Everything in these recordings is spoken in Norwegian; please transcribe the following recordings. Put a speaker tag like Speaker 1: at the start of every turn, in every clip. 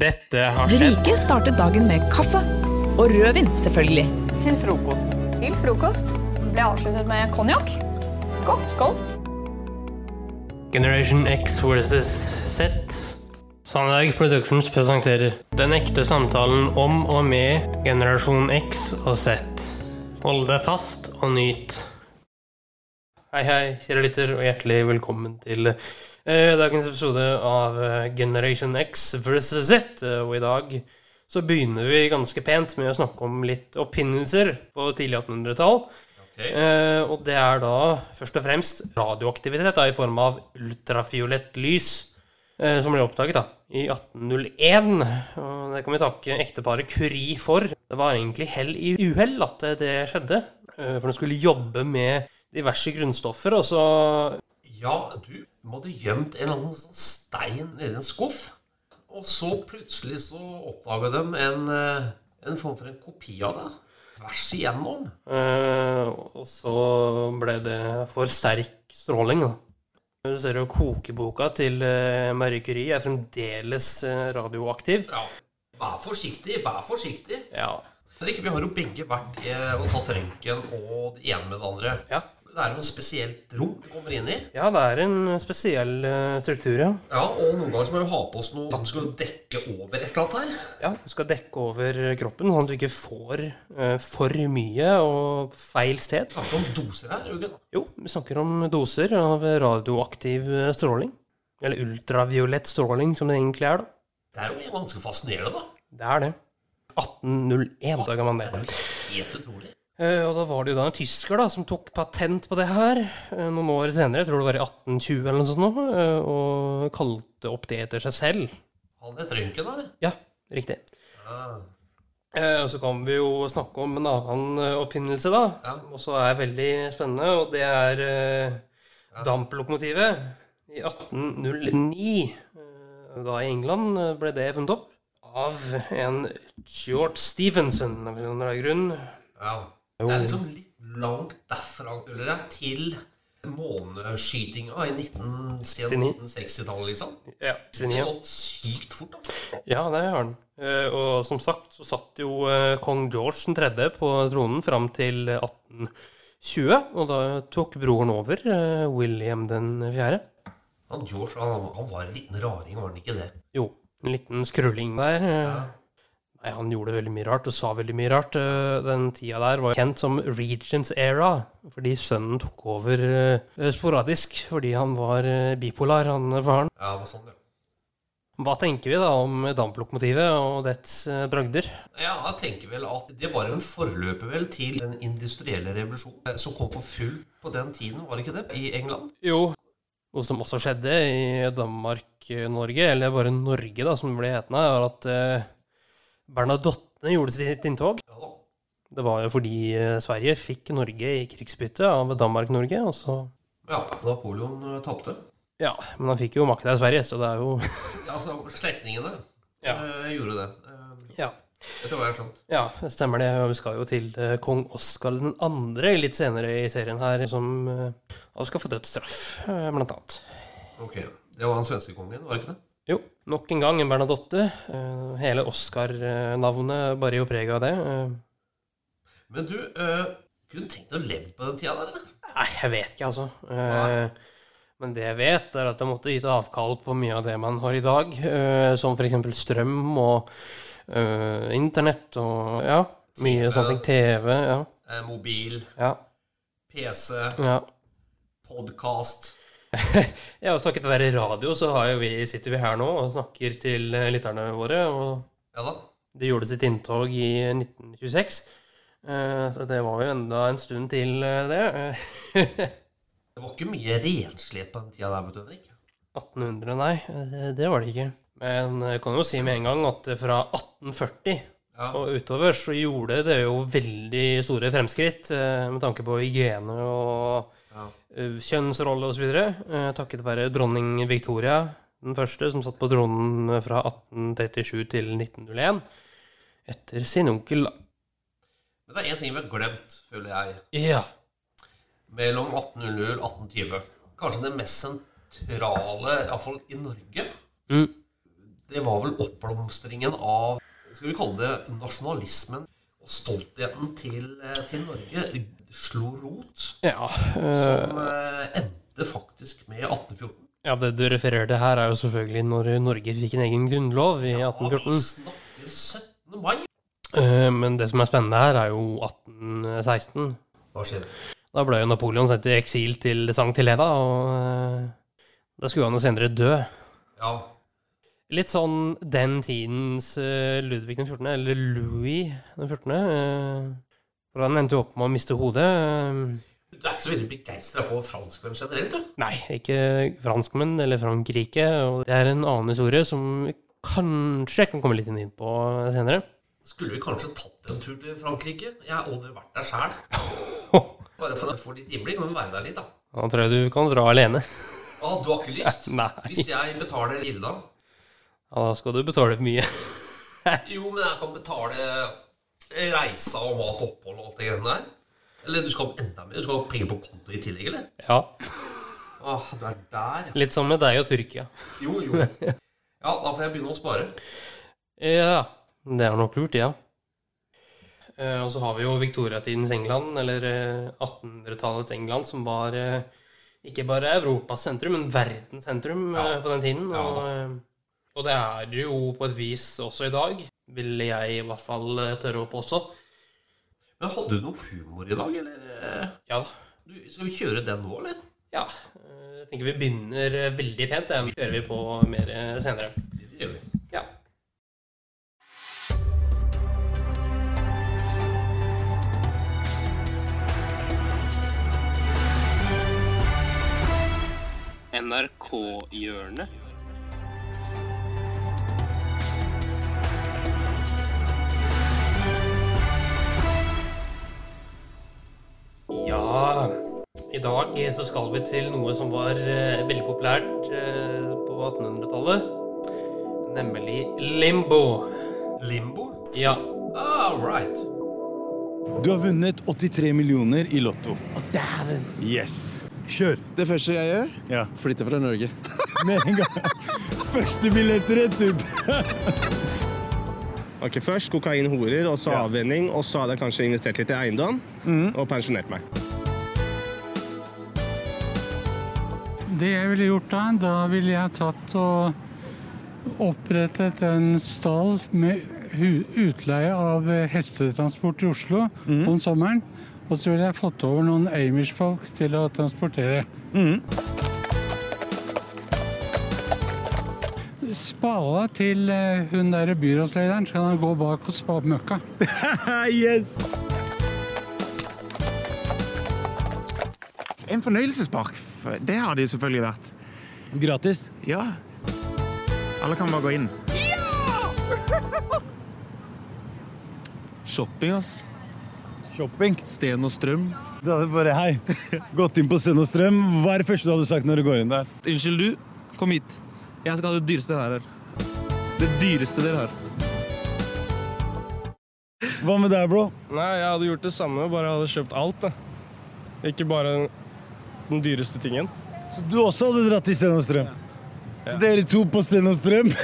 Speaker 1: Dette har
Speaker 2: De
Speaker 1: skjedd.
Speaker 2: rike startet dagen med kaffe. Og rødvin, selvfølgelig.
Speaker 3: Til frokost.
Speaker 4: Til frokost ble avsluttet med konjakk. Skål. Skål.
Speaker 1: Generation X versus Z. Sandberg Productions presenterer den ekte samtalen om og med generasjon X og Z. Hold deg fast og nyt. Hei, hei, kjære lytter, og hjertelig velkommen til eh, dagens episode av eh, Generation X versus Z. Eh, Og i dag så begynner vi ganske pent med å snakke om litt oppfinnelser på tidlig 1800-tall. Eh, og det er da først og fremst radioaktivitet da, i form av ultrafiolett lys eh, som ble oppdaget da, i 1801. Og det kan vi takke ekteparet Curie for. Det var egentlig hell i uhell at det skjedde. eh, for de skulle jobbe med diverse grunnstoffer, og så
Speaker 5: Ja, du må ha gjemt en eller annen sånn stein nedi en skuff. Og så plutselig så oppdaga de en, eh, en form for en kopi av det. Tvers igjennom.
Speaker 1: eh, Og så ble det for sterk stråling. Da. Du ser jo kokeboka til eh, Marie Curie er fremdeles eh, radioaktiv.
Speaker 5: Ja. Vær forsiktig, vær forsiktig.
Speaker 1: Ja,
Speaker 5: Henrik, vi har jo begge vært eh, og tatt røntgen og det ene med det andre.
Speaker 1: ja.
Speaker 5: Det er jo et spesielt rom vi kommer inn i.
Speaker 1: Ja, det er en spesiell eh, struktur, ja.
Speaker 5: Ja, Og noen ganger så må vi ha på oss noe som skal dekke over et eller annet her.
Speaker 1: ja. Du skal dekke over kroppen, sånn at du ikke får eh, for mye og feil sted.
Speaker 5: Snakker om doser her. Jørgen.
Speaker 1: Jo, vi snakker om doser av radioaktiv eh, stråling. Eller ultraviolett stråling, som det egentlig er, da.
Speaker 5: Det er jo ganske fascinerende, da.
Speaker 1: Det er det. 1801, da kan man det.
Speaker 5: Helt utrolig.
Speaker 1: Eh, og da var det jo da en tysker da, som tok patent på det her eh, noen år senere, jeg tror det var i 1820 eller noe sånt, nå, eh, og kalte opp det etter seg selv.
Speaker 5: Han het Røntgen, eller?
Speaker 1: Ja, riktig. Eh, og så kan vi jo snakke om en annen eh, oppfinnelse, da, som også er veldig spennende, og det er eh, damplokomotivet. I 1809, eh, da i England, eh, ble det funnet opp av en George Stephenson, av en eller annen grunn.
Speaker 5: Ja. Det er liksom litt langt derfra Ullere, til måneskytinga i 19 siden 1960-tallet, liksom.
Speaker 1: Ja,
Speaker 5: Det
Speaker 1: sin
Speaker 5: har gått sykt fort, altså. da.
Speaker 1: Ja, det har han. Eh, Og som sagt så satt jo eh, kong George 3. på tronen fram til 1820, og da tok broren over, eh, William 4.
Speaker 5: Han George han, han var en liten raring, var han ikke det?
Speaker 1: Jo, en liten skrulling der. eh. Nei, han gjorde veldig mye rart, og sa veldig mye rart. Eh, Den tida der var kjent som Regents era, fordi sønnen tok over eh, sporadisk, fordi han var eh, bipolar, han eh, faren.
Speaker 5: Ja, det var sånn, ja.
Speaker 1: Hva tenker vi da om damplokomotivet og dets eh, bragder?
Speaker 5: Ja, jeg tenker vel at det var en forløper vel til den industrielle revolusjonen eh, som kom for fullt på den tiden, var det ikke det? I England?
Speaker 1: Jo. Noe som også skjedde i Danmark-Norge, eller bare Norge, da, som det ble hetende, er at eh, Bernadottene gjorde sitt inntog.
Speaker 5: Ja da.
Speaker 1: Det var jo fordi eh, Sverige fikk Norge i krigsbytte av Danmark-Norge, og så
Speaker 5: Ja, Napoleon eh, tapte.
Speaker 1: Ja, men han fikk jo makta i Sverige, så det er jo
Speaker 5: Ja, altså, slektningene
Speaker 1: Ja.
Speaker 5: eh, gjorde det. Eh,
Speaker 1: Ja.
Speaker 5: Etter hva jeg har skjønt.
Speaker 1: Ja, det stemmer det. Og Vi skal jo til eh, kong Oskar 2. litt senere i serien her, som eh, også skal få dødsstraff, eh, blant annet.
Speaker 5: Ok, det var han svenske kongen, var det ikke det?
Speaker 1: Jo, nok en gang en Bernadotte. Eh, Hele Oscar-navnet bare jo preg av det. Eh,
Speaker 5: Men du, øh, kunne du tenkt deg å leve på den tida der, eller?
Speaker 1: Nei, jeg vet ikke, altså. Eh, Men det jeg vet, er at jeg måtte gitt avkall på mye av det man har i dag. eh, Som f.eks. strøm og eh, internett og ja, mye sånne ting. TV. Ja.
Speaker 5: Eh, mobil,
Speaker 1: ja,
Speaker 5: PC,
Speaker 1: ja.
Speaker 5: podkast
Speaker 1: Ja, og Takket være radio så har jo vi, sitter vi her nå og snakker til eh, lytterne våre. og
Speaker 5: Ja da.
Speaker 1: Det gjorde sitt inntog i 1926. eh, Så det var jo enda en stund til eh, det. Eh,
Speaker 5: Det var ikke mye renslighet på den tida der, vet du, Henrik.
Speaker 1: 1800, nei. eh, Det var det ikke. Men jeg kan jo si med en gang at fra 1840
Speaker 5: Ja.
Speaker 1: og utover så gjorde det jo veldig store fremskritt eh, med tanke på hygiene og
Speaker 5: Ja.
Speaker 1: eh, kjønnsrolle osv. eh, Takket være dronning Victoria, den første som satt på tronen fra 1837 til 1901, etter sin onkel
Speaker 5: Men det er én ting vi har glemt, føler jeg,
Speaker 1: Ja.
Speaker 5: mellom 1800 og 1820. Kanskje det mest sentrale, iallfall i Norge.
Speaker 1: Mm.
Speaker 5: det var vel oppblomstringen av skal vi kalle det nasjonalismen og stoltheten til, eh, til Norge slo rot,
Speaker 1: Ja, øh,
Speaker 5: som eh, endte faktisk med 1814.
Speaker 1: ja, det du refererer til her, er jo selvfølgelig når Norge fikk en egen grunnlov i
Speaker 5: Ja, vi
Speaker 1: 1814.
Speaker 5: snakker 17. mai.
Speaker 1: Eh, Men det som er spennende her, er jo 1816.
Speaker 5: Hva skjedde?
Speaker 1: Da ble jo Napoleon sendt i eksil til Sankt Helena, og eh, da skulle han jo senere dø.
Speaker 5: Ja,
Speaker 1: Litt sånn den tidens eh, Ludvig den 14., eller Louis den 14., eh, for han endte jo opp med å miste hodet. eh,
Speaker 5: Du er ikke så veldig begeistra for franskmenn generelt, du.
Speaker 1: Nei, ikke franskmenn eller Frankrike, og det er en annen historie som vi kanskje kan komme litt inn på senere.
Speaker 5: Skulle vi kanskje tatt en tur til Frankrike? Jeg har aldri vært der sjæl. Bare for å få litt innblikk. Må jo være der litt, da.
Speaker 1: Da tror jeg du kan dra alene.
Speaker 5: Ah, du har ikke lyst?
Speaker 1: Nei,
Speaker 5: Hvis jeg betaler ille, da?
Speaker 1: ja, da skal du betale mye.
Speaker 5: Jo, men jeg kan betale reisa og mat og opphold og alt det greiene der. Eller du skal ha enda mer? Du skal ha penger på konto i tillegg, eller?
Speaker 1: Ja,
Speaker 5: Ah, du er der, ja.
Speaker 1: litt som med deg og Tyrkia.
Speaker 5: Jo, jo. Ja, da får jeg begynne å spare.
Speaker 1: Ja, det er nok lurt, ja. Eh, Og så har vi jo viktoriatidens England, eller eh, 1800-tallets England, som var eh, ikke bare Europas sentrum, men verdens sentrum
Speaker 5: Ja.
Speaker 1: eh, på den tiden.
Speaker 5: Ja da.
Speaker 1: Og, eh, og det er det jo på et vis også i dag, vil jeg i hvert fall eh, tørre å påstå.
Speaker 5: Men hadde du noe humor i dag, eller?
Speaker 1: Ja da.
Speaker 5: Du, skal vi kjøre den nå, eller?
Speaker 1: Ja. eh, Jeg tenker vi begynner eh, veldig pent, det hører vi på mer eh, senere.
Speaker 5: Det gjør vi.
Speaker 1: Ja. NRK-hjørnet. Ja I dag så skal vi til noe som var eh, veldig populært eh, på 1800-tallet. Nemlig limbo.
Speaker 5: Limbo?
Speaker 1: Ja.
Speaker 5: All right.
Speaker 3: Du har vunnet 83 millioner i Lotto. Yes. Kjør.
Speaker 6: Det første jeg gjør,
Speaker 3: Ja.
Speaker 6: flytter fra Norge.
Speaker 3: Med en gang. Første billett rett ut.
Speaker 7: Ok, Først kokain, horer, og så
Speaker 3: Ja.
Speaker 7: avvenning. Og så hadde jeg kanskje investert litt i eiendom
Speaker 6: Mm.
Speaker 7: og pensjonert meg.
Speaker 8: Det jeg ville gjort da, da ville jeg tatt og opprettet en stall med hu- utleie av eh, hestetransport i Oslo om sommeren. Og så ville jeg fått over noen Amish-folk til å transportere. Spala til eh, hun derre byrådslederen, så kan han gå bak og spa opp møkka.
Speaker 3: yes.
Speaker 9: En fornøyelsespark, f- det har det jo selvfølgelig vært.
Speaker 3: Gratis.
Speaker 9: Ja. Alle kan bare gå inn. Ja! Shopping, ass.
Speaker 3: Shopping.
Speaker 9: Sten og strøm.
Speaker 3: Du hadde bare hei. Gått inn på Send og Strøm. Hva er det første du hadde sagt når du går inn der?
Speaker 9: Unnskyld, du. Kom hit. Jeg skal ha det dyreste her. Det dyreste dere har.
Speaker 3: Hva med deg, bro?
Speaker 7: Nei, Jeg hadde gjort det samme, bare jeg hadde kjøpt alt. da. Ikke bare den dyreste tingen.
Speaker 3: Så du også hadde dratt til Send og Strøm? Så dere to på Send og Strøm?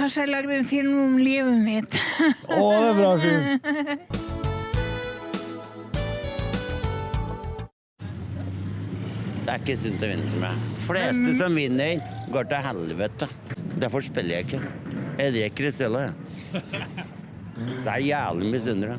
Speaker 10: Kanskje jeg lagde en film om livet mitt.
Speaker 3: Å, det er bra, Kim.
Speaker 11: Det er ikke sunt å vinne som jeg. Fleste
Speaker 1: Mm.
Speaker 11: som vinner, går til helvete. Derfor spiller jeg ikke. Jeg drikker i stedet. jeg. Det er jævlig misunnelig.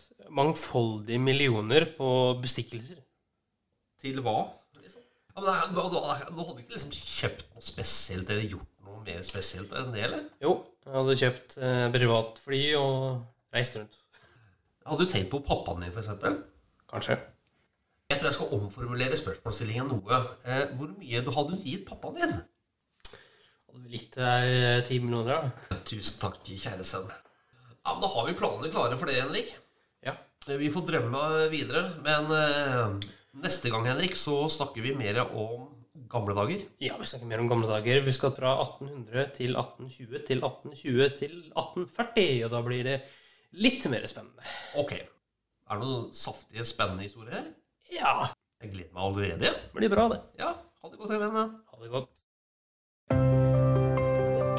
Speaker 1: mangfoldige millioner på bestikkelser.
Speaker 5: Til hva? Liksom? Ja, men det er- Du hadde du hadde ikke liksom kjøpt noe spesielt eller gjort noe mer spesielt enn det, eller?
Speaker 1: Jo, jeg hadde kjøpt eh, privatfly og reist rundt.
Speaker 5: Hadde du tenkt på pappaen din, for eksempel?
Speaker 1: Kanskje.
Speaker 5: Jeg tror jeg skal omformulere spørsmålsstillingen noe. Eh, hvor mye du hadde du gitt pappaen din?
Speaker 1: Litt er ti millioner, da.
Speaker 5: Tusen takk, kjære sønn. Ja, men Da har vi planene klare for det, Henrik.
Speaker 1: Ja.
Speaker 5: Eh, Vi får drømme videre. Men eh, neste gang, Henrik, så snakker vi mer om gamle dager.
Speaker 1: Ja, vi snakker mer om gamle dager. Vi skal fra 1800 til 1820 til 1820 til 1840, og da blir det litt mer spennende.
Speaker 5: Ok. Er det noen saftige, spennende historier her?
Speaker 1: Ja.
Speaker 5: Jeg gleder meg allerede.
Speaker 1: Det blir bra, det.
Speaker 5: Ja, ha det godt, Helene.
Speaker 1: Ha det godt.